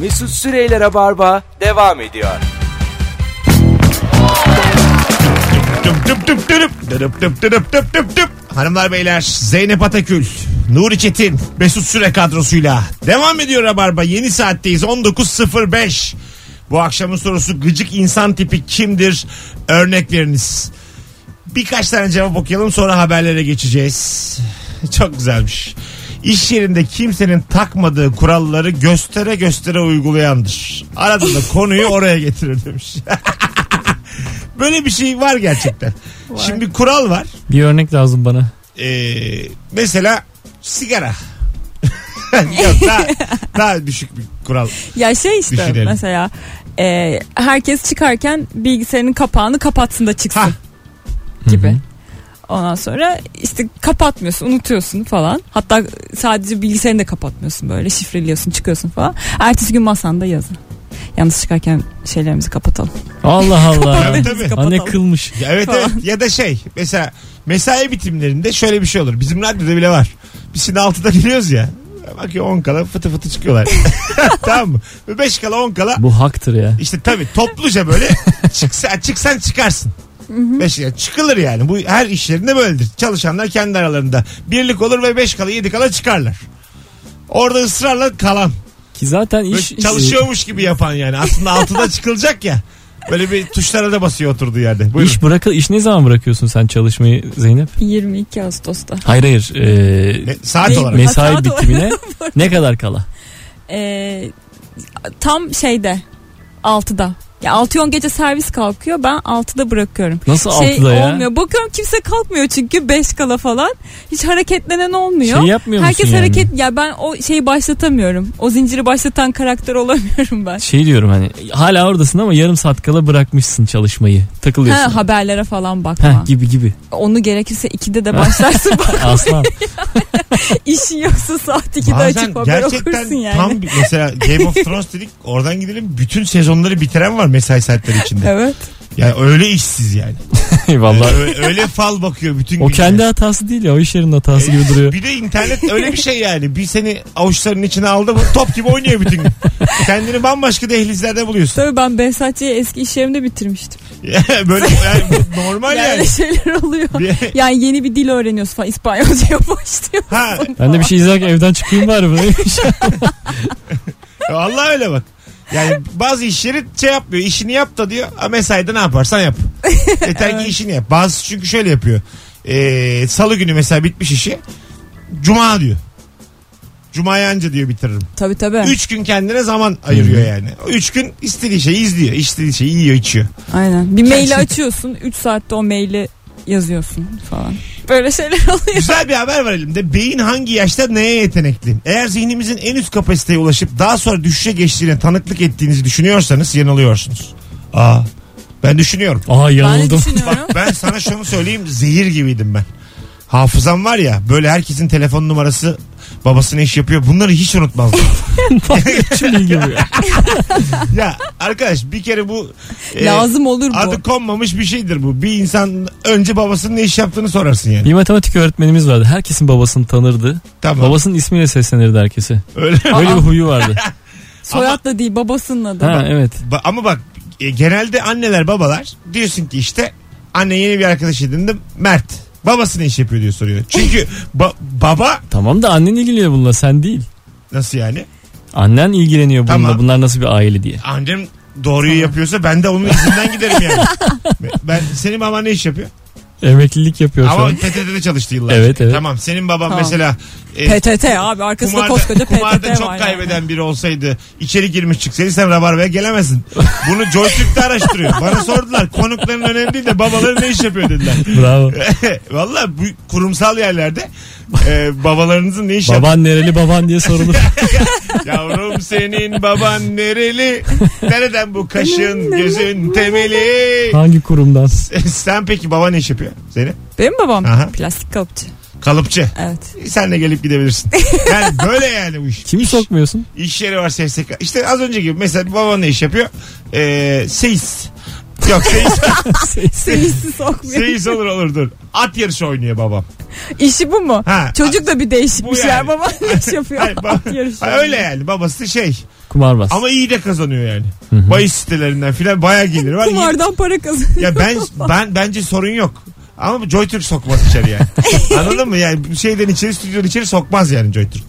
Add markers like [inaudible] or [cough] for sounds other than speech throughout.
Mesut Süreyler'e barba devam ediyor. Dıp dıp dıp dırıp, dırıp dıp dırıp dıp dıp dıp. Hanımlar beyler Zeynep Atakül, Nuri Çetin, Mesut Süre kadrosuyla devam ediyor Rabarba. Yeni saatteyiz 19.05. Bu akşamın sorusu gıcık insan tipi kimdir? Örnek veriniz. Birkaç tane cevap okuyalım sonra haberlere geçeceğiz. [laughs] Çok güzelmiş. İş yerinde kimsenin takmadığı kuralları göstere göstere uygulayandır. Arada da konuyu oraya getirir demiş. Böyle bir şey var gerçekten. Şimdi kural var. Bir örnek lazım bana. Ee, mesela sigara. [laughs] Yok daha, daha düşük bir kural. Ya şey işte Düşünelim. mesela e, herkes çıkarken bilgisayarın kapağını kapatsın da çıksın Ha gibi. Ondan sonra işte kapatmıyorsun, unutuyorsun falan. Hatta sadece bilgisayarını da kapatmıyorsun böyle. Şifreliyorsun, çıkıyorsun falan. Ertesi gün masanda yazın. Yalnız çıkarken şeylerimizi kapatalım. [laughs] Allah Allah. tabii tabii. Ha ne kılmış. Ya evet Falan. evet ya da şey mesela mesai bitimlerinde şöyle bir şey olur. Bizim radyoda bile var. Biz şimdi 6'da giriyoruz ya. Bakıyor 10 kala fıtı fıtı çıkıyorlar. [laughs] tamam mı? 5 kala 10 kala Bu haktır ya. işte tabii topluca böyle [laughs] çıksa, çıksan çıkarsın. Beş, ya çıkılır yani. Bu her iş yerinde böyledir. Çalışanlar kendi aralarında birlik olur ve 5 kala 7 kala çıkarlar. Orada ısrarla kalan. Ki zaten Böyle iş çalışıyormuş gibi yapan yani. Aslında altıda çıkılacak ya. Böyle bir tuşlara da basıyor oturduğu yerde. Buyurun. İş bırakıl e, iş ne zaman bırakıyorsun sen çalışmayı Zeynep? 22 Ağustos'ta. Hayır hayır. Ee, Ne- saat Ne- olarak. ne- mesai Hata da- [laughs] bitimine ne kadar kala? E, tam şeyde 6'da. Ya 6-10 gece servis kalkıyor. Ben 6'da bırakıyorum. Nasıl şey altıda ya? olmuyor. Bakıyorum kimse kalkmıyor çünkü 5 kala falan. Hiç hareketlenen olmuyor. Şey yapmıyor musun Herkes yani? hareket ya ben o şeyi başlatamıyorum. O zinciri başlatan karakter [laughs] olamıyorum ben. Şey diyorum hani hala oradasın ama yarım saat kala bırakmışsın çalışmayı. Takılıyorsun. Ha, haberlere falan bakma. Heh, gibi gibi. Onu gerekirse 2'de de başlarsın. [laughs] Aslan. İşin yoksa saat 2'de Bazen açıp haber gerçekten okursun yani. tam bir- mesela Game of Thrones dedik oradan gidelim bütün sezonları bitiren var mesai saatleri içinde. [laughs] Evet. Yani öyle işsiz yani. [laughs] Vallahi Öyle, öyle fal bakıyor bütün o gün. kendi hatası değil ya o iş yerinin hatası gibi [laughs] duruyor. Bir de internet öyle bir şey yani. Bir seni avuçlarının içine aldı mı top gibi oynuyor bütün gün. Kendini bambaşka dehlizlerde buluyorsun. Tabii ben Behzatçı'yı eski iş yerimde bitirmiştim. [laughs] Böyle yani bu normal Yani, [laughs] yani. şeyler oluyor. [laughs] Bir- Yani yeni bir dil öğreniyorsun falan. İspanyolca'ya [laughs] başlıyor. Ha, Ben de bir şey izlerken evden çıkayım bari. [laughs] Böyle. vallahi öyle bak. Yani bazı işleri şey yapmıyor. İşini yap da diyor. "Ha, Mesaide ne yaparsan yap. Yeter ki işini yap. Bazı çünkü şöyle yapıyor. Ee, Salı günü mesela bitmiş işi. Cuma diyor. Cuma'ya anca diyor bitiririm. Tabii tabii. Üç gün kendine zaman ayırıyor yani. O Üç gün istediği şeyi izliyor. istediği şeyi yiyor içiyor. Aynen. Bir maili açıyorsun. 3 saatte o maili yazıyorsun falan. Böyle şeyler oluyor. Güzel bir haber var elimde. Beyin hangi yaşta neye yetenekli? Eğer zihnimizin en üst kapasiteye ulaşıp daha sonra düşüşe geçtiğine tanıklık ettiğinizi düşünüyorsanız yanılıyorsunuz. Aa, ben düşünüyorum. Aa Ben de yanıldım. düşünüyorum. Ben sana şunu söyleyeyim zehir gibiydim ben. Hafızam var ya böyle herkesin telefon numarası babasına iş yapıyor. Bunları hiç unutmazdım. [laughs] Şimdi gibi. ya arkadaş bir kere bu e, Lazım olur bu. adı konmamış bir şeydir bu. Bir insan önce babasının ne iş yaptığını sorarsın yani. Bir matematik öğretmenimiz vardı. Herkesin babasını tanırdı. Tamam. Babasının ismiyle seslenirdi herkese. Öyle mi? Öyle bir [laughs] huyu vardı. Soyadla değil babasının adı. ha evet. Ba- ama bak e, genelde anneler babalar diyorsun ki işte anne yeni bir arkadaş edindim Mert. Babası ne iş yapıyor diyor soruyor. [laughs] Çünkü ba- baba Tamam da annen ilgileniyor bununla sen değil. nasıl yani? Annen ilgileniyor bununla Tamam. bunlar nasıl bir aile diye. Annem doğruyu yapıyorsa ben de onun izinden giderim [laughs] yani. ben senin baban ne iş yapıyor? Emeklilik yapıyor şu Ama an. PTT'de çalıştı yıllar. Evet, evet. Tamam senin baban Tamam. mesela e, PTT abi arkasında kumarda, koskoca PTT var. kumarda çok yani. kaybeden biri olsaydı içeri girmiş çıksaydı sen Rabarba'ya [laughs] gelemezsin. Bunu Joytürk'te araştırıyor. Bana sordular konukların önemli değil de babaları ne iş yapıyor dediler. [laughs] Bravo. Valla bu kurumsal yerlerde e, babalarınızın ne iş yapıyor? baban nereli baban [laughs] diye sorulur. Şey- Yavrum senin baban nereli? Nereden bu kaşın gözün temeli? Hangi kurumdan? Sen peki baba ne iş yapıyor? Zeynep? Benim babam Aha. plastik kalıpçı. Kalıpçı. [laughs] Evet. Sen de gelip gidebilirsin. Yani böyle yani bu iş. Kimi sokmuyorsun? İş yeri var SSK. İşte az önce gibi mesela baban ne iş yapıyor? Ee, E, seyis. Yok [laughs] seyis, Şey- Seyisi sokmuyor. seyis olur olur dur. At yarışı oynuyor babam. İşi bu mu? Ha. Çocuk da bir değişik Bu bir yani. [laughs] şeyler. Baba ne iş yapıyor? Hayır, ba- At yarışı. Hayır, Hani öyle yani babası şey. Kumarbaz. Ama iyi de kazanıyor yani. Bahis sitelerinden filan baya gelir. var. Kumardan para kazanıyor. Ya [laughs] ben ben bence sorun yok. Ama JoyTürk sokmaz içeri yani. Anladın mı? Yani bir şeyden içeri stüdyodan içeri sokmaz yani JoyTürk.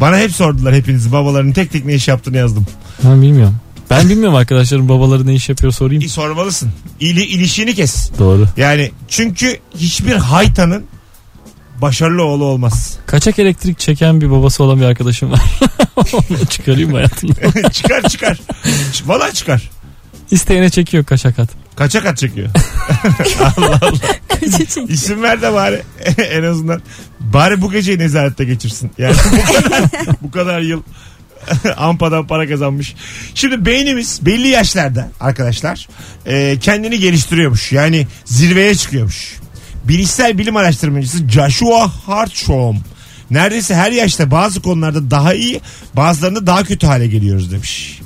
Bana hep sordular hepiniz babaların tek tek ne iş yaptığını yazdım. Ben bilmiyorum. Ben bilmiyorum arkadaşlarım babaları ne iş yapıyor sorayım. İyi sormalısın. İli, ilişiğini kes. Doğru. Yani çünkü hiçbir haytanın başarılı oğlu olmaz. [laughs] Kaçak elektrik çeken bir babası olan bir arkadaşım var. [laughs] Onu çıkarayım mı hayatımdan. çıkar çıkar. Ç- Valla çıkar. İsteyene çekiyor kaçak at. Kaçak at çekiyor. [laughs] Kaça çekiyor? İsim ver de bari [laughs] en azından. Bari bu geceyi nezarette geçirsin. Yani bu kadar, bu kadar yıl [laughs] ampadan para kazanmış. Şimdi beynimiz belli yaşlarda arkadaşlar e, kendini geliştiriyormuş. Yani zirveye çıkıyormuş. Bilişsel bilim araştırmacısı Joshua Hartshorn neredeyse her yaşta bazı konularda daha iyi bazılarında daha kötü hale geliyoruz demiş.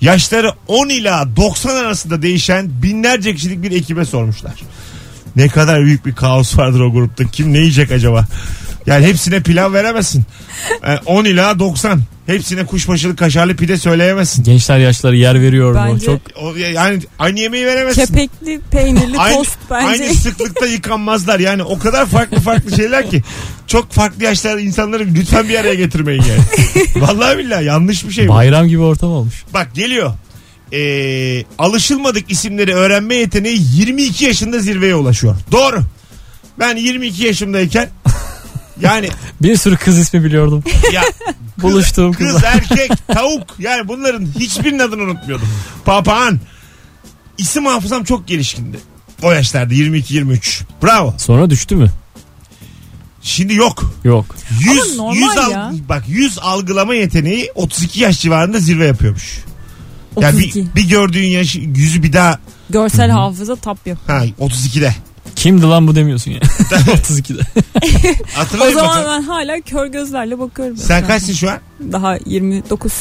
Yaşları 10 ila 90 arasında değişen binlerce kişilik bir ekibe sormuşlar. Ne kadar büyük bir kaos vardır o grupta. Kim ne yiyecek acaba? Yani hepsine pilav veremezsin. Yani 10 ila 90. Hepsine kuşbaşılı kaşarlı pide söyleyemezsin. Gençler yaşları yer veriyor mu? Bence- Çok O- Yani aynı yemeği veremezsin. Kepekli peynirli aynı, tost bence. aynı sıklıkta yıkanmazlar. Yani o kadar farklı farklı şeyler ki. Çok farklı yaşlarda insanları lütfen bir araya getirmeyin yani. Vallahi billahi yanlış bir şey bu. bayram gibi ortam olmuş. Bak geliyor. Ee, alışılmadık isimleri öğrenme yeteneği 22 yaşında zirveye ulaşıyor. Doğru. Ben 22 yaşımdayken [laughs] yani Bir sürü kız [laughs] ismi biliyordum. ya Buluştuğum kız, kızlar. erkek, tavuk yani bunların hiçbirinin adını unutmuyordum. Papağan. İsim hafızam çok gelişkindi. O yaşlarda 22-23. Bravo. Sonra düştü mü? Şimdi yok. Yok. 100, normal 100 al- ya. bak 100 algılama yeteneği 32 yaş civarında zirve yapıyormuş. Ya 32. bir, bir gördüğün yaş yüzü bir daha Görsel hafıza tap yap. ha 32'de. Kimdi lan bu [laughs] demiyorsun ya. 32'de. O Hatırlayın zaman bakalım. ben hala kör gözlerle bakıyorum. Sen kaçsın şu an? Daha 29.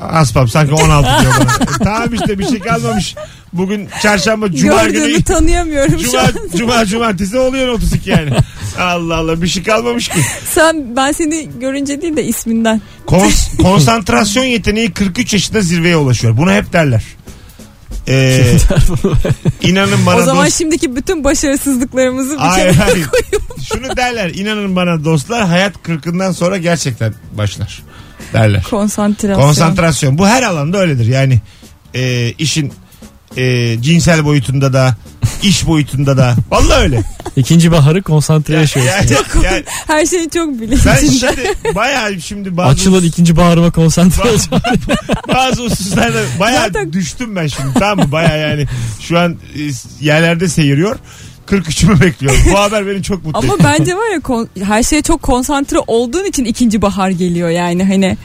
Aspam sanki 16 diyor bana. [laughs] E, tamam işte bir şey kalmamış. Bugün çarşamba cuma günü. Gördüğümü tanıyamıyorum şu Cuma, an. cuma cumartesi oluyor 32 yani. Allah Allah bir şey kalmamış ki. Sen ben seni görünce değil de isminden. Kons- [laughs] konsantrasyon yeteneği 43 yaşında zirveye ulaşıyor. Bunu hep derler. Ee, inanın bana o zaman dost- şimdiki bütün başarısızlıklarımızı bir Hayır, kenara [laughs] hayır. koyup Şunu derler. inanın bana dostlar hayat 40'ından sonra gerçekten başlar. Derler. konsantrasyon. [laughs] Konsantrasyon. Bu her alanda öyledir. Yani e, işin e, cinsel boyutunda da iş boyutunda da. Vallahi [laughs] öyle. İkinci baharı konsantre yaşıyoruz. Yani, yani Her şeyi çok ben bilincinde. şimdi bayağı şimdi bazı, [laughs] Açılın ikinci baharıma konsantre olacağım. bazı hususlarda bayağı Zaten- düştüm ben şimdi tamam mı? Bayağı yani şu an e, yerlerde seyiriyor. 43'ümü bekliyorum. Bu haber beni çok mutlu Ama etti. bence var ya kon- her şeye çok konsantre olduğun için ikinci bahar geliyor yani hani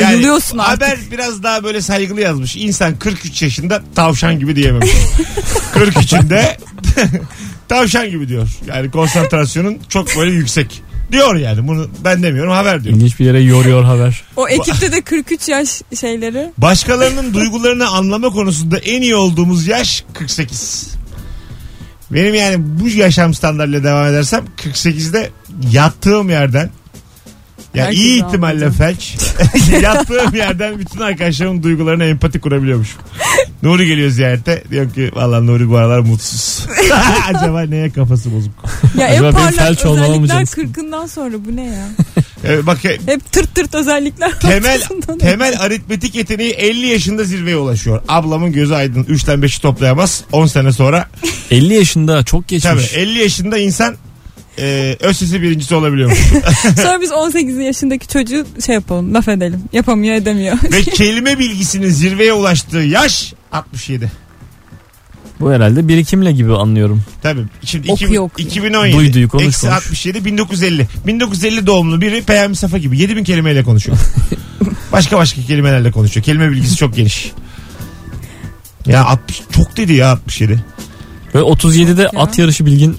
Yani ayılıyorsun artık. Haber biraz daha böyle saygılı yazmış. İnsan 43 yaşında tavşan gibi diyememiş. [laughs] 43'ünde [laughs] tavşan gibi diyor. Yani konsantrasyonun çok böyle yüksek. Diyor yani bunu ben demiyorum haber diyor. İlginç bir yere yoruyor haber. O ekipte de 43 yaş şeyleri. Başkalarının duygularını anlama konusunda en iyi olduğumuz yaş 48. Benim yani bu yaşam standartıyla devam edersem 48'de yattığım yerden ya Herkesi iyi ihtimalle anladım. felç. [laughs] yattığım yerden bütün arkadaşlarımın duygularına empati kurabiliyormuşum. Nuri geliyor ziyarete. Diyor ki valla Nuri bu aralar mutsuz. [laughs] Acaba neye kafası bozuk? Ya Acaba en benim parlak felç olmama mı özellikler canım? 40'ından sonra bu ne ya? Ee, bak e, Hep tırt tırt özellikler. temel ortasından. temel aritmetik yeteneği 50 yaşında zirveye ulaşıyor. Ablamın gözü aydın. 3'ten 5'i toplayamaz. 10 sene sonra 50 yaşında çok Tabii geçmiş. 50 yaşında insan e, ÖSS birincisi olabiliyor. Sonra biz 18 yaşındaki çocuğu şey yapalım laf edelim. Yapamıyor edemiyor. Ve kelime bilgisinin zirveye ulaştığı yaş 67. e- Bu herhalde birikimle gibi anlıyorum. Tabii. Şimdi Oku 2000 yok. 2017. Duyduyu konuş, eksi konuş. 67 1950. 1950 doğumlu biri Peyami Safa gibi 7000 kelimeyle konuşuyor. başka başka kelimelerle konuşuyor. Kelime bilgisi çok geniş. Ya 60 çok dedi ya 67. Ve 37'de ya. at yarışı bilgin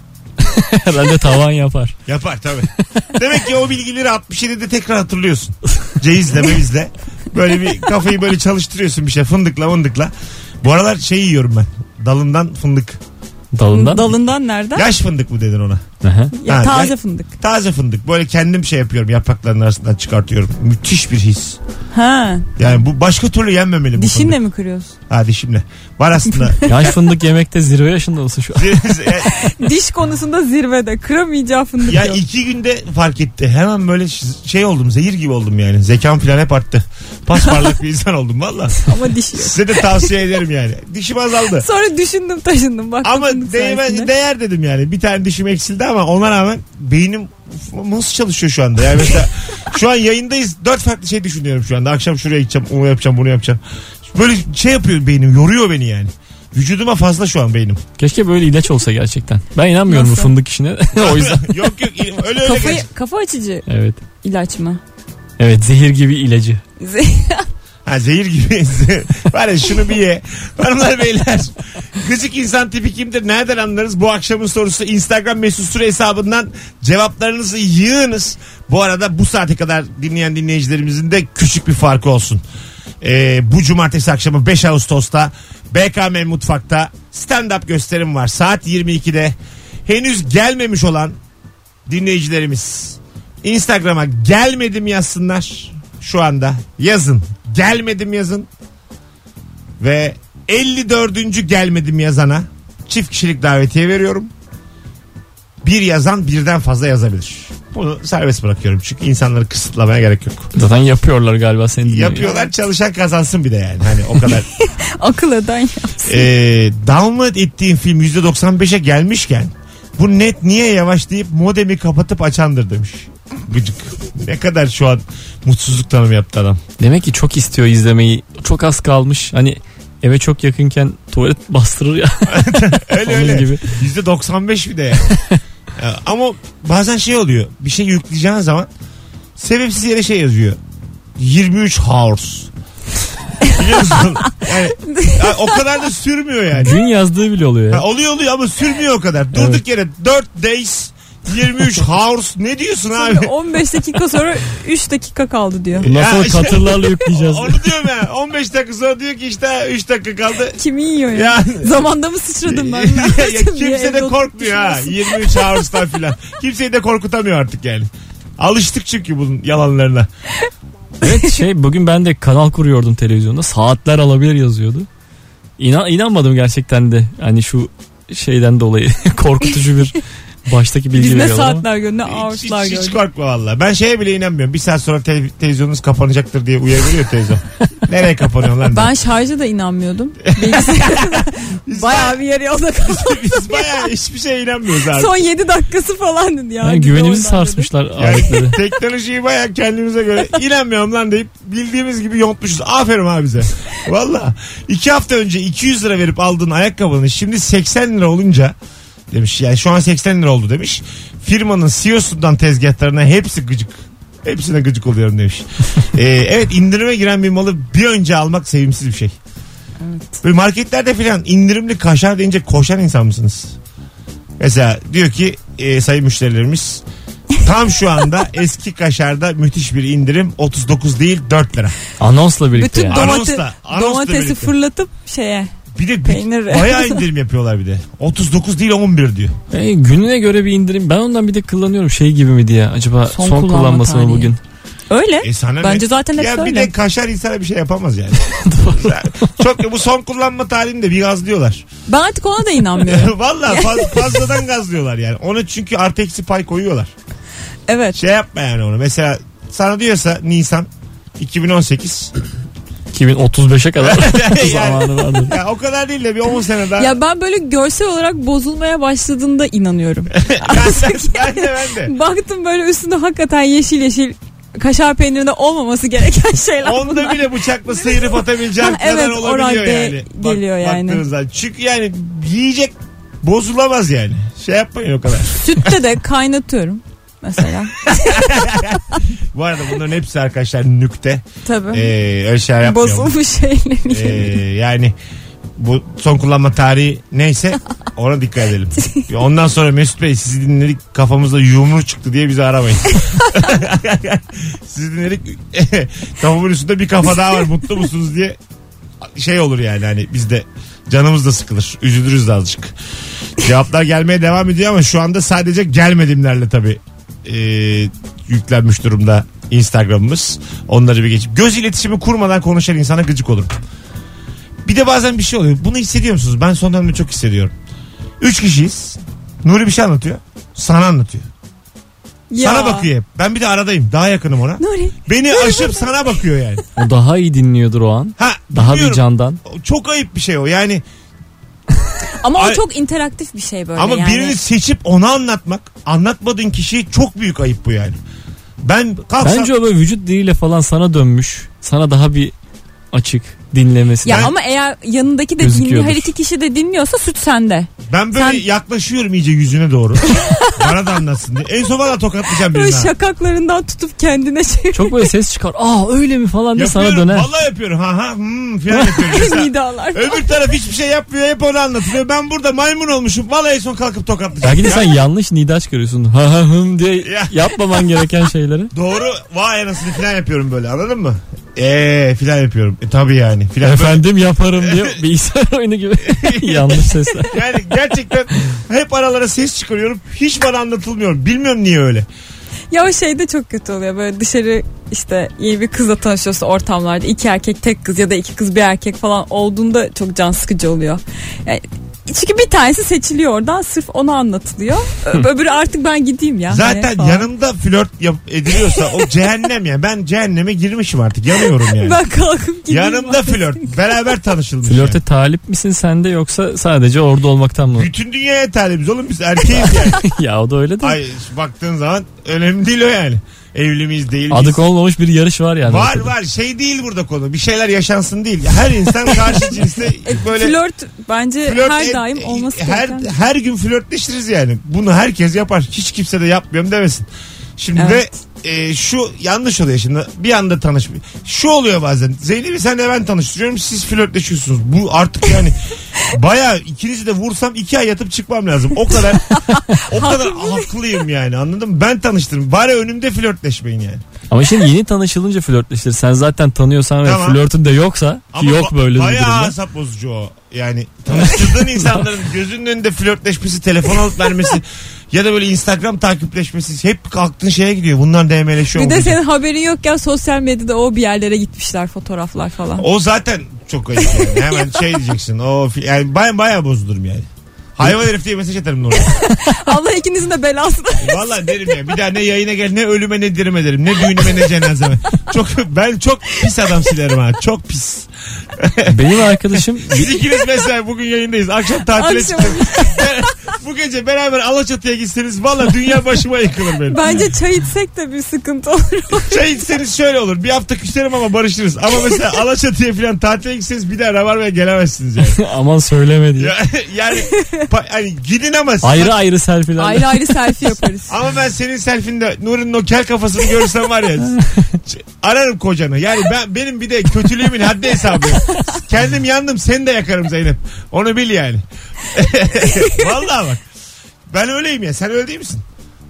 [laughs] herhalde tavan yapar. Yapar tabii. [laughs] Demek ki o bilgileri 67'de tekrar hatırlıyorsun. Ceyizle mevizle. Böyle bir kafayı böyle çalıştırıyorsun bir şey fındıkla fındıkla. Bu aralar şey yiyorum ben. Dalından fındık. Dalından. Dalından nereden? Yaş fındık mı dedin ona? Aha. Ya, Ha, taze ya- fındık. Taze fındık. Böyle kendim şey yapıyorum. Yaprakların arasından çıkartıyorum. Müthiş bir his. Ha. Yani bu başka türlü yenmemeli bu Dişinle fındık. mi kırıyorsun? Ha dişimle. Var [laughs] aslında. Yaş fındık yemekte zirve yaşında olsun şu an. Diş konusunda zirvede. Kıramayacağı fındık ya yok. iki günde fark etti. Hemen böyle ş- şey oldum. Zehir gibi oldum yani. Zekam falan hep arttı. Pasparlak bir insan oldum valla. Ama diş yok. Size de tavsiye ederim yani. Dişim azaldı. Sonra düşündüm taşındım. Bak Ama değme, değer dedim yani. Bir tane dişim eksildi ama ona rağmen beynim f- nasıl çalışıyor şu anda? Yani mesela şu an yayındayız. Dört farklı şey düşünüyorum şu anda. Akşam şuraya gideceğim, onu yapacağım, bunu yapacağım. Böyle şey yapıyor beynim. Yoruyor beni yani. Vücuduma fazla şu an beynim. Keşke böyle ilaç olsa gerçekten. Ben inanmıyorum bu Nasıl? fındık işine. [laughs] o [laughs] yüzden. [laughs] yok yok öyle öyle Kafayı, geç. kafa açıcı Evet. ilaç mı? [laughs] Evet zehir gibi ilacı. Ha zehir gibi. [laughs] Var ya şunu bir ye. Hanımlar beyler. Gıcık insan tipi kimdir? Nereden anlarız? Bu akşamın sorusu Instagram mesut süre hesabından cevaplarınızı yığınız. Bu arada bu saate kadar dinleyen dinleyicilerimizin de küçük bir farkı olsun. Ee, bu cumartesi akşamı 5 Ağustos'ta BKM Mutfak'ta stand-up gösterim var. Saat 22'de henüz gelmemiş olan dinleyicilerimiz Instagram'a gelmedim yazsınlar şu anda. Yazın. Gelmedim yazın. Ve 54. gelmedim yazana çift kişilik davetiye veriyorum. Bir yazan birden fazla yazabilir. Bunu serbest bırakıyorum çünkü insanları kısıtlamaya gerek yok. Zaten yapıyorlar galiba seni dinleyen. Yapıyorlar çalışan kazansın bir de yani. Hani o kadar. Akıl eden ya. Ee, download ettiğin film %95'e gelmişken bu net niye yavaş deyip modemi kapatıp açandır demiş. Gıcık. Ne kadar şu an mutsuzluk tanımı yaptı adam. Demek ki çok istiyor izlemeyi. Çok az kalmış. Hani eve çok yakınken tuvalet [laughs] bastırır ya. Öyle Onun öyle. gibi. %95 bir de yani. [laughs] Ya, Ama bazen şey oluyor. Bir şey yükleyeceğin zaman sebepsiz yere şey yazıyor. 23 hours. Biliyor [laughs] musun? Yani, ya o kadar da sürmüyor yani. Gün yazdığı bile oluyor Ha, ya. oluyor oluyor ama sürmüyor o kadar. Durduk yere 4 days [laughs] 23 hours ne diyorsun Sonra abi? 15 dakika sonra 3 dakika kaldı diyor. Bundan sonra Ya işte- [laughs] katırlarla yükleyeceğiz. Onu diyorum ya. 15 dakika sonra diyor ki işte 3 dakika kaldı. [laughs] Kimi yiyor ya? Ya, Zamanda mı sıçradım ben? [laughs] ya, Diye kimse evde de oturup korkmuyor ha. düşünüyorsun. 23 hours'tan filan. Kimseyi de korkutamıyor artık yani. Alıştık çünkü bunun yalanlarına. evet şey bugün ben de kanal kuruyordum televizyonda. Saatler alabilir yazıyordu. İnan, inanmadım gerçekten de. Hani şu şeyden dolayı [laughs] korkutucu bir baştaki Biz bilgi ne veriyorlar ama. saatler gördük ne Hiç, hiç, ağaçlar hiç gördük. korkma valla. Ben şeye bile inanmıyorum. Bir saat sonra te- televizyonunuz kapanacaktır diye uyarıyor [laughs] televizyon. Nereye kapanıyor lan? diye. Ben şarja da [laughs] inanmıyordum. Bayağı bir yarı yolda kaldım. [laughs] Biz bayağı hiçbir şeye [laughs] inanmıyoruz abi. Son 7 dakikası falan dedi ya. Yani Dedi güvenimizi oradan dedi. sarsmışlar aletleri. Yani teknolojiyi bayağı kendimize göre inanmıyorum lan deyip bildiğimiz gibi yontmuşuz. Aferin abi bize. Valla. iki hafta önce 200 lira verip aldığın ayakkabını şimdi 80 lira olunca demiş. Yani şu an 80 lira oldu demiş. Firmanın CEO'sundan tezgahlarına hepsi gıcık. Hepsine gıcık oluyorum demiş. Ee, evet indirime giren bir malı bir önce almak sevimsiz bir şey. Böyle marketlerde filan indirimli kaşar deyince koşan insan mısınız? Mesela diyor ki e, sayın müşterilerimiz tam şu anda eski kaşarda müthiş bir indirim 39 değil 4 lira. Anonsla birlikte Bütün yani. Anonsla, domate- anonsla birlikte. domatesi fırlatıp şeye Bir de bir, Peynir. bayağı indirim yapıyorlar bir de. 39 değil 11 diyor. E, gününe göre bir indirim. Ben ondan bir de kullanıyorum şey gibi mi diye. Acaba son, Son kullanması kullanma mı tarihi. bugün? öyle. E sana ne? Bence zaten hep Ya bir öyle. de kaşar insana bir şey yapamaz [laughs] yani. Ya, Çok bu son kullanma tarihini de bir gazlıyorlar. [laughs] Ben artık ona da inanmıyorum. Valla faz- [laughs] fazladan gazlıyorlar yani. Ona çünkü artı eksi pay koyuyorlar. Evet. Şey yapma yani onu. Mesela sana diyorsa Nisan 2018. [laughs] 2035'e kadar [laughs] [laughs] zamanı vardır. ya o kadar değil de bir 10 sene daha. Ya ben böyle görsel olarak bozulmaya başladığında inanıyorum. [laughs] ben de ben de. Baktım böyle üstünde hakikaten yeşil yeşil kaşar peynirinde [laughs] olmaması gereken şeyler Onda bunlar. bile bıçakla sıyırıp atabileceğin [laughs] Ha, kadar evet, o olabiliyor radde yani. Bak- geliyor yani. baktığınız zaman. Çünkü yani yiyecek bozulamaz yani. Şey yapmayın o kadar. Sütte de kaynatıyorum [laughs] mesela. Ee, Bu arada bunların hepsi arkadaşlar nükte. Tabii. Ee, öyle şeyler yapmayalım. Bozulmuş şeyleri. Ee, yani bu son kullanma tarihi neyse ona dikkat edelim. Ondan sonra Mesut Bey sizi dinledik kafamızda yumru çıktı diye bizi aramayın. [laughs] sizi dinledik kafamın üstünde bir kafa daha var mutlu musunuz diye şey olur yani hani biz de canımız da sıkılır. Üzülürüz de azıcık. Cevaplar gelmeye devam ediyor ama şu anda sadece gelmedimlerle tabii e, yüklenmiş durumda Instagram'ımız. Onları bir geçip göz iletişimi kurmadan konuşan insana gıcık olurum. Bir de bazen bir şey oluyor. Bunu hissediyor musunuz? Ben son dönemde çok hissediyorum. Üç kişiyiz. Nuri bir şey anlatıyor. Sana anlatıyor. Sana bakıyor hep. Ben bir de aradayım. Daha yakınım ona. Nuri. Beni aşıp sana bakıyor yani. O daha iyi dinliyordur o an. Ha, [laughs] Daha bir biliyorum. candan. Çok ayıp bir şey o. Yani Ama Ay- o çok interaktif bir şey böyle ama yani. birini seçip ona anlatmak, anlatmadığın kişiye çok büyük ayıp bu yani. Ben kalksam Bence o böyle vücut diliyle falan sana dönmüş. Sana daha bir açık dinlemesi. Ya Ben- ama eğer yanındaki de Gözüküyordur. dinliyor, her iki kişi de dinliyorsa suç sende. ben böyle sen- yaklaşıyorum iyice yüzüne [laughs] doğru. bana da anlatsın diye. En son bana tokatlayacağım birini. Böyle ha. şakaklarından tutup kendine çevir. Çok böyle ses çıkar. Aa öyle mi falan diye sana Yapıyorum, döner. Vallahi yapıyorum. Ha ha hmm, falan yapıyorum. [laughs] Mesela Nidalar. Öbür taraf hiçbir şey yapmıyor. Hep onu anlatıyor. Ben burada maymun olmuşum. Vallahi en son kalkıp tokatlayacağım. Belki de sen yanlış nida çıkarıyorsun. Ha ha hım diye Ya. yapmaman gereken [laughs] şeyleri. Doğru vay anasını filan yapıyorum böyle anladın mı? Eee filan yapıyorum. E, tabii yani filan. Efendim yaparım [laughs] diye bilgisayar oyunu gibi yanlış sesler. Böyle- Yani gerçekten hep aralara ses çıkarıyorum. Hiç bana anlatılmıyor. Bilmiyorum niye öyle. Ya o şey de çok kötü oluyor böyle dışarı işte iyi bir kızla tanışıyorsun ortamlarda iki erkek tek kız ya da iki kız bir erkek falan olduğunda çok can sıkıcı oluyor. Yani çünkü bir tanesi seçiliyor oradan sırf ona anlatılıyor. Ö- Öbürü artık ben gideyim ya. Zaten hani falan. yanımda flört yap- ediliyorsa o cehennem ya. Ben cehenneme girmişim artık. Yanıyorum yani. [laughs] Ben kalkıp gideyim. Yanımda flört. Beraber tanışılmış. Flörte yani. talip misin sen de yoksa sadece orada olmaktan mı? Bütün dünyaya talibiz oğlum biz erkeğiz [laughs] yani. [laughs] ya o da öyle de. Ay baktığın zaman önemli değil o yani. Evli miyiz değil miyiz? Adı konulmamış bir yarış var yani. Var ortada. var şey değil burada konu. Bir şeyler yaşansın değil. Her insan [laughs] karşı cinste böyle Flört bence flört her et- e, daim olması her, gereken. şey. her gün flörtleşiriz yani. Bunu herkes yapar. Hiç kimse de yapmıyorum demesin. Şimdi Evet. de e, şu yanlış oluyor şimdi. Bir anda tanışmıyor. Şu oluyor bazen. Zeynep'i senle ben tanıştırıyorum. Siz flörtleşiyorsunuz. Bu artık [laughs] yani baya ikinizi de vursam iki ay yatıp çıkmam lazım. O kadar o kadar haklıyım yani anladın mı? Ben tanıştırdım. Bari önümde flörtleşmeyin yani. Ama şimdi yeni tanışılınca flörtleştir. Sen zaten tanıyorsan Tamam. ve flörtün de yoksa ki yok ba- böyle bir bayağı durumda. asap bozucu o. Yani [laughs] tanıştırdığın insanların gözünün önünde flörtleşmesi, telefon alıp vermesi ya da böyle Instagram takipleşmesi hep kalktığın şeye gidiyor. Bunlar DM'leşiyor. Bir de olacak. senin haberin yokken sosyal medyada o bir yerlere gitmişler fotoğraflar falan. [laughs] O zaten çok ayıp yani. [laughs] Hemen şey diyeceksin. O fi- yani baya baya bozulurum yani. Hayvan herif diye mesaj atarım [laughs] Nur'a. Allah ikinizin de belasını. Valla derim ya. Bir daha ne yayına gel ne ölüme ne dirime derim. Ne düğünüme ne cenazeme. Çok, ben çok pis adam silerim ha. Çok pis. [laughs] Benim arkadaşım Biz ikiniz mesela bugün yayındayız. Akşam tatile Akşam- çıktık. [laughs] Bu gece beraber Alaçatı'ya gitseniz valla dünya başıma yıkılır benim. Bence çay içsek de bir sıkıntı olur. Çay içseniz şöyle olur. Bir hafta küserim ama barışırız. Ama mesela Alaçatı'ya falan tatile gitseniz bir daha Rabarba'ya gelemezsiniz yani. aman söyleme diye. Ya- yani pa- hani gidin ama... Ayrı ayrı selfie'ler. ayrı [laughs] ayrı selfie yaparız. Ama ben senin selfinde Nuri'nin o kel kafasını görürsem var ya ç- ararım kocanı. Yani ben benim bir de kötülüğümün haddi hesabı. yok. Kendim yandım seni de yakarım Zeynep. Onu bil yani. [laughs] Vallahi bak. Ben öyleyim ya sen öyle değil misin?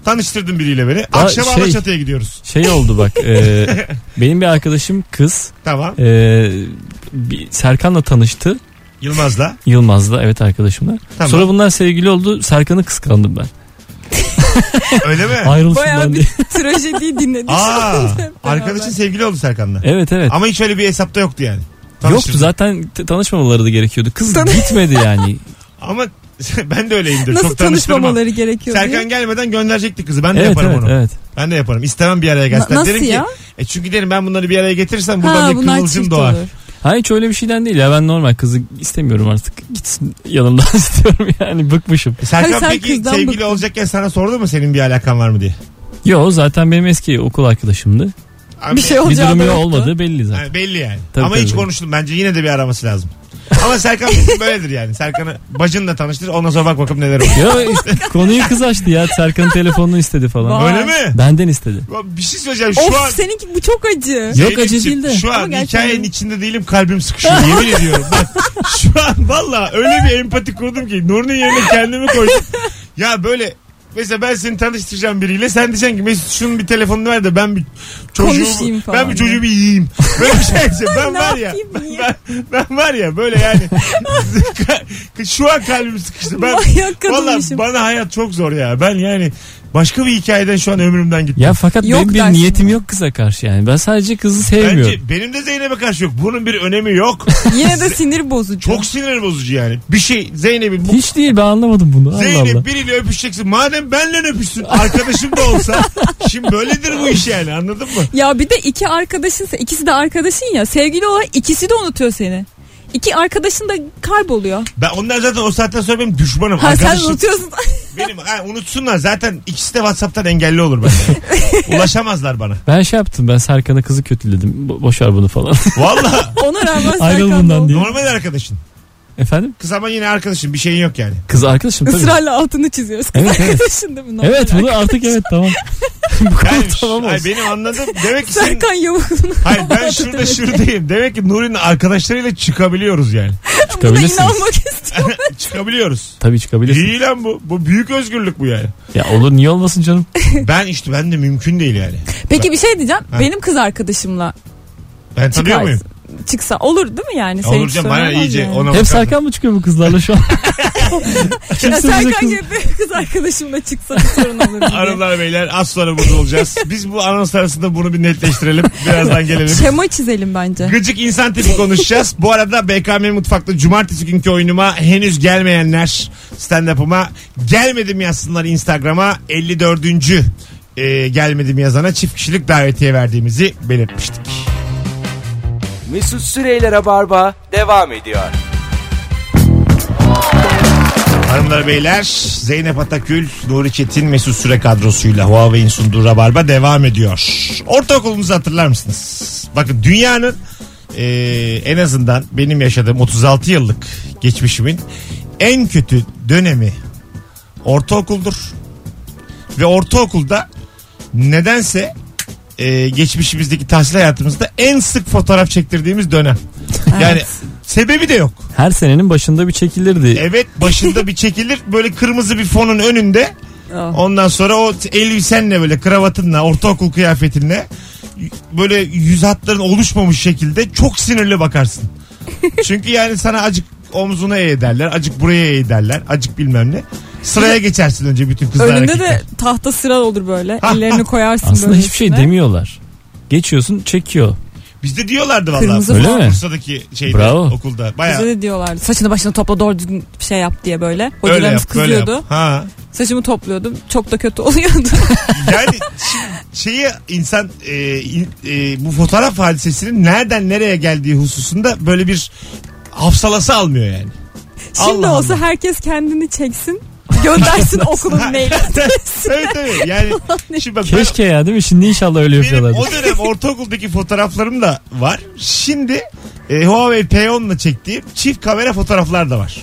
Tanıştırdın biriyle beni. Akşam şey- Alaçatı'ya gidiyoruz. Şey oldu bak. [laughs] e, benim bir arkadaşım kız Tamam. e, bir Serkan'la tanıştı. Yılmaz'la. Yılmaz'la evet arkadaşımla. Tamam. Sonra bunlar sevgili oldu. Serkan'ı kıskandım ben. Öyle [laughs] mi? Ayrılsın Bayağı lan bir diye. trajediyi dinledik. Aa, Hep beraber. arkadaşın sevgili oldu Serkan'la. Evet evet. Ama hiç öyle bir hesapta yoktu yani. Yoktu Tanıştırdın. zaten t- tanışmamaları da gerekiyordu. Kız Tanı- gitmedi [laughs] yani. Ama ben de öyleyimdir. Nasıl Çok tanıştırmam. tanışmamaları gerekiyor Serkan diye. gelmeden gönderecekti kızı. Ben de evet Hani yaparım evet onu. evet. Ben de yaparım. İstemem bir araya gelsinler. Na- nasıl derim ya? ki e çünkü derim ben bunları bir araya getirirsem buradan Ha, bir bunlar kıvılcım çift doğar. olur. Hayır hiç öyle bir şeyden değil ya ben normal kızı istemiyorum artık gitsin yanımdan [laughs] istiyorum yani bıkmışım. E Serkan Hayır, sen peki kızdan sevgili bıktın. olacakken sana sordu mu senin bir alakan var mı diye? Yo zaten benim eski okul arkadaşımdı. Ama- Bir şey Bir olacağı da durumu yoktu. olmadığı belli zaten. Yani belli yani. Tabii, Ama tabii. hiç konuştum. Bence yine de bir araması lazım. Ama Serkan [laughs] bizim böyledir yani. Serkan'ı bacınla tanıştır. Ondan sonra bak bakalım neler olur. Ya konuyu kız açtı ya Serkan'ın telefonunu istedi falan. Vay. Öyle mi? Benden istedi. Bir şey söyleyeceğim. Şu Of an seninki bu çok acı. Yok, Zeynep'ciğim, acı değil de. Şu an Ama gerçekten- hikayenin içinde değilim kalbim sıkışıyor. Yemin [laughs] ediyorum. Bak, şu an valla öyle bir empati kurdum ki Nur'un yerine kendimi koydum. Ya böyle mesela ben seni tanıştıracağım biriyle sen diyeceksin ki Mesut şunun bir telefonunu ver de ben bir çocuğu Konuşayım falan ben bir çocuğu bir yiyeyim. Böyle bir şey [laughs] yapacağım. Ben Ne var ya. yapayım, niye? Ben, ben var ya böyle yani. [laughs] Şu an kalbim sıkıştı. Ben, Manyak Valla kadınmışım. bana hayat çok zor ya. Ben yani başka bir hikayeden şu an ömrümden gittim. Ya fakat Yok benim bir dersin. niyetim yok kıza karşı yani. Ben sadece kızı sevmiyorum. Bence benim de Zeynep'e karşı yok. Bunun bir önemi [laughs] yok. Yine de sinir bozucu. Çok sinir bozucu yani. Bir şey Zeynep'in bu Hiç değil ben anlamadım bunu. [laughs] Allah Allah. Zeynep biriyle öpüşeceksin. Madem benle öpüşsün arkadaşım da [laughs] olsa. Şimdi böyledir bu iş yani anladın mı? Ya bir de iki arkadaşınsa ikisi de arkadaşın ya sevgili olarak ikisi de unutuyor seni. İki arkadaşın da kayboluyor. Ben onlar zaten o saatten sonra benim düşmanım. Ha sen arkadaşım unutuyorsun. [laughs] benim. Ha, unutsunlar zaten ikisi de Whatsapp'tan engelli [laughs] olur benden. Ulaşamazlar bana. Ben şey yaptım ben Serkan'a kızı kötüledim. Bo- boşar bunu falan. [laughs] Valla Ona rağmen Ayrıl Serkan bundan da oldu. diye. normal arkadaşın. Efendim? Kız ama yine arkadaşın bir şeyin yok yani. Kız arkadaşım tabii. Israrla altını çiziyoruz. Kız Evet, evet. arkadaşın değil mi? Normal Evet bunu artık evet tamam. Bu konu Yani, [laughs] tamam hayır, olsun. benim anladım. Demek ki senin Serkan yavukluğuna Hayır ben şurada şuradayım. Demek ki Nuri'nin arkadaşlarıyla çıkabiliyoruz yani. buna Çıkabilirsiniz. inanmak istiyorum. [laughs] çıkabiliyoruz. Tabii çıkabilirsiniz. İyi lan bu. Bu büyük özgürlük bu [laughs] yani. Ya olur niye olmasın canım? Ben işte ben de mümkün değil yani. Peki bir şey diyeceğim. Ha. Benim kız arkadaşımla Ben tanıyor çıkar, muyum? çıksa olur değil mi yani? Senin Olur hiç canım sorun bana olmaz iyice yani. ona Hep bakar. Serkan mı çıkıyor bu kızlarla şu an? Kimse Ya bize Serkan kız- gibi bir kız arkadaşımla çıksa bir sorun olur mu diye. Hanımlar beyler az sonra burada [laughs] olacağız. Biz bu anons arasında bunu bir netleştirelim. Birazdan gelelim. Şema çizelim bence. Gıcık insan tipi konuşacağız. Bu arada BKM Mutfak'ta cumartesi günkü oyunuma henüz gelmeyenler stand-up'ıma gelmedim yazsınlar Instagram'a 54. e, gelmedim yazana çift kişilik davetiye verdiğimizi belirtmiştik. Mesut Süreyler'e barba devam ediyor. Hanımlar beyler Zeynep Atakül, Nuri Çetin, Mesut Süre kadrosuyla Huawei'in sunduğu Rabarba devam ediyor. Ortaokulunuzu hatırlar mısınız? Bakın dünyanın e, en azından benim yaşadığım 36 yıllık geçmişimin en kötü dönemi ortaokuldur. Ve ortaokulda nedense e, geçmişimizdeki tahsil hayatımızda en sık fotoğraf çektirdiğimiz dönem. Yani sebebi de yok. [laughs] Her senenin başında bir çekilirdi. Evet başında bir çekilir böyle kırmızı bir fonun önünde. Oh. Ondan sonra o elbisenle böyle kravatınla ortaokul kıyafetinle böyle yüz hatların oluşmamış şekilde çok sinirli [laughs] bakarsın. Çünkü yani sana acık omzuna eğ ederler, acık buraya eğ ederler, acık bilmem ne. Sıraya geçersin önce bütün kızlar. Önünde erkekler. de tahta sıra olur böyle. Ha, ha. Ellerini koyarsın Aslında böyle hiçbir şey üstüne. demiyorlar. Geçiyorsun çekiyor. Bizde diyorlardı Kırmızı valla. Öyle mi? Bursa'daki şeyde Bravo. okulda. Bayağı Bize de diyorlardı. Saçını başını topla doğru düzgün bir şey yap diye böyle. öyle Hocalarımız yap, böyle yap. kızıyordu. Ha. Saçımı topluyordum. Çok da kötü [laughs] oluyordu. Yani şimdi şeyi insan e, in- e, bu fotoğraf hadisesinin nereden nereye geldiği hususunda böyle bir hafsalası almıyor yani. Şimdi Allah olsa Allah. herkes kendini çeksin. [laughs] Göndersin okulun mail adresine. evet evet yani şimdi bak ben- Keşke ya değil mi? Şimdi inşallah öyle şey benim yapıyorlardır. o dönem ortaokuldaki fotoğraflarım da var. Şimdi e, Huawei P10'la çektiğim çift kamera fotoğraflar da var.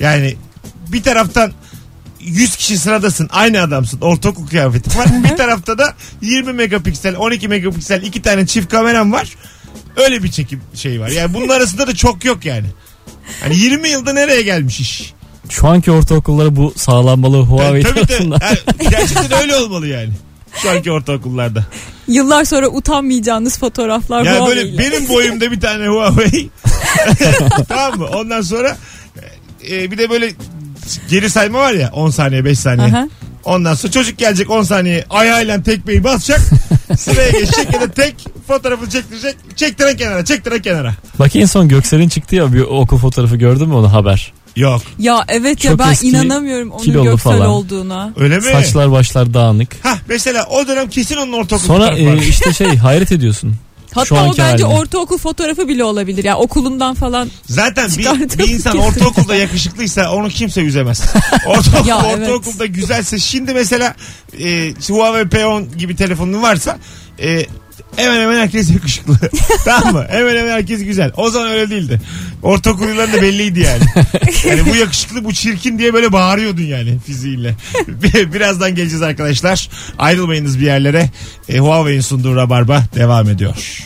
Yani bir taraftan 100 kişi sıradasın aynı adamsın ortaokul kıyafeti var. bir tarafta da 20 megapiksel 12 megapiksel iki tane çift kameram var. Öyle bir çekim şey var. Yani bunun arasında da çok yok yani. Hani 20 yılda nereye gelmiş iş? Şu anki ortaokullara bu sağlanmalı Huawei E, tabii tabii. tarafından. Yani gerçekten öyle olmalı yani. Şu anki ortaokullarda. Yıllar sonra utanmayacağınız fotoğraflar Yani bu böyle haliyle. benim boyumda bir tane Huawei. [laughs] tamam mı? Ondan sonra e, bir de böyle geri sayma var ya 10 saniye 5 saniye. Aha. Ondan sonra çocuk gelecek 10 saniye ayağıyla tekmeyi basacak. sıraya geçecek ya da tek fotoğrafını çektirecek. Çektiren kenara çektiren kenara. [laughs] Bak en son Göksel'in çıktı ya bir okul fotoğrafı gördün mü onu haber? Yok Ya evet ya Çok ben eski, inanamıyorum onun kilolu göksel falan. olduğuna. öyle mi? Saçlar başlar dağınık. Hah mesela o dönem kesin onun ortaokul Sonra fotoğrafı var. e, işte şey hayret ediyorsun. Şu Hatta o anki bence haline. ortaokul fotoğrafı bile olabilir. Ya okulundan falan. Zaten bir, Çıkardım bir insan kesin. ortaokulda yakışıklıysa onu kimse [laughs] üzemez. Ortaokul, Ya, evet. ortaokulda güzelse şimdi mesela e, şu Huawei P10 gibi telefonun varsa e, hemen hemen herkes [laughs] yakışıklı. tamam mı? Hemen hemen herkes güzel. O zaman öyle değildi. Ortaokul yıllarında belliydi yani. yani bu yakışıklı bu çirkin diye böyle bağırıyordun yani fiziğinle. [laughs] Bir- Birazdan geleceğiz arkadaşlar. Ayrılmayınız bir yerlere. E, Huawei'in sunduğu Rabarba devam ediyor.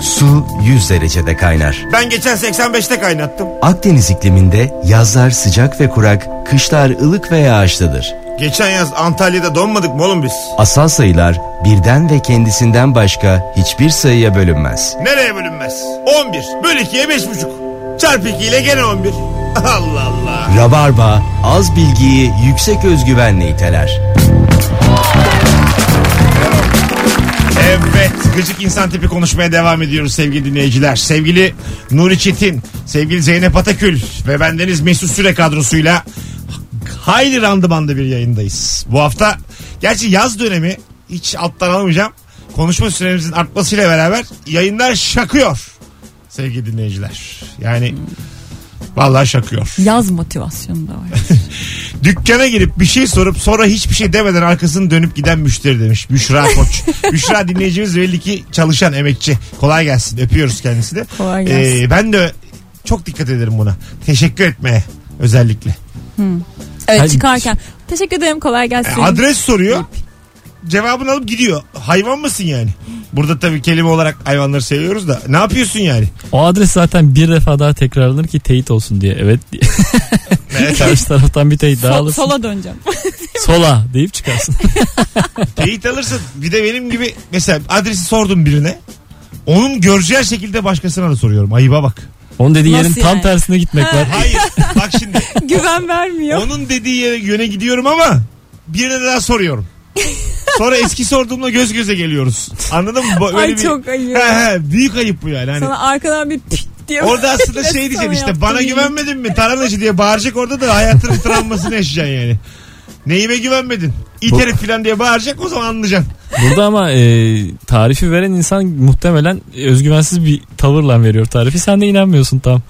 Su 100 derecede kaynar. Ben geçen 85'te kaynattım. Akdeniz ikliminde yazlar sıcak ve kurak, kışlar ılık ve yağışlıdır. Geçen yaz Antalya'da donmadık mı oğlum biz? Asal sayılar birden ve kendisinden başka hiçbir sayıya bölünmez. Nereye bölünmez? 11 böl 2'ye 5,5. Çarp 2 ile gene 11. [laughs] Allah Allah. Rabarba az bilgiyi yüksek özgüvenle iteler. Evet gıcık insan tipi konuşmaya devam ediyoruz sevgili dinleyiciler. Sevgili Nuri Çetin, sevgili Zeynep Atakül ve bendeniz Mesut Süre kadrosuyla hayli randımanda bir yayındayız. Bu hafta gerçi yaz dönemi hiç alttan almayacağım. Konuşma süremizin artmasıyla beraber yayınlar şakıyor sevgili dinleyiciler. Yani vallahi şakıyor. Yaz motivasyonu [laughs] da var. Dükkana girip bir şey sorup sonra hiçbir şey demeden arkasını dönüp giden müşteri demiş. Büşra Koç. Büşra dinleyicimiz belli ki çalışan emekçi. Kolay gelsin. Öpüyoruz kendisini. Kolay gelsin. Ee, ben de çok dikkat ederim buna. Teşekkür etmeye özellikle. Hadi. Evet çıkarken. Teşekkür ederim kolay E, gelsin. adres soruyor. Cevabını alıp gidiyor. Hayvan mısın yani? Burada tabii kelime olarak hayvanları seviyoruz da. Ne yapıyorsun yani? O adres zaten bir defa daha tekrarlanır ki teyit olsun diye. [laughs] Evet. diye. [laughs] Evet abi. Karşı taraftan bir teyit daha Sol- alırsın. Sola. sola döneceğim. [laughs] deyip çıkarsın. Teyit alırsın. Bir de benim gibi mesela adresi sordum birine. Onun göreceği şekilde başkasına da soruyorum. Ayıba bak. Onun dediği yerin Nasıl tam yani? tersine gitmek var. Hayır. Bak [laughs] şimdi. Güven vermiyor. Onun dediği yere yöne gidiyorum ama birine daha soruyorum. Sonra eski sorduğumla göz göze geliyoruz. Anladın mı? Bu- Ay öyle bir- çok ayıp. He he, büyük ayıp bu yani. Hani Sana arkadan bir pit diye. [laughs] orada aslında şey diyeceksin Sana işte yaptım bana iyi. güvenmedin mi? Taranacı diye bağıracak orada da hayatının travmasını yaşayacaksın yani. Neyime güvenmedin? Bu- İterip falan diye bağıracak o zaman anlayacaksın. Burada ama e, tarifi veren insan muhtemelen özgüvensiz bir tavırla veriyor tarifi. Sen de inanmıyorsun tam.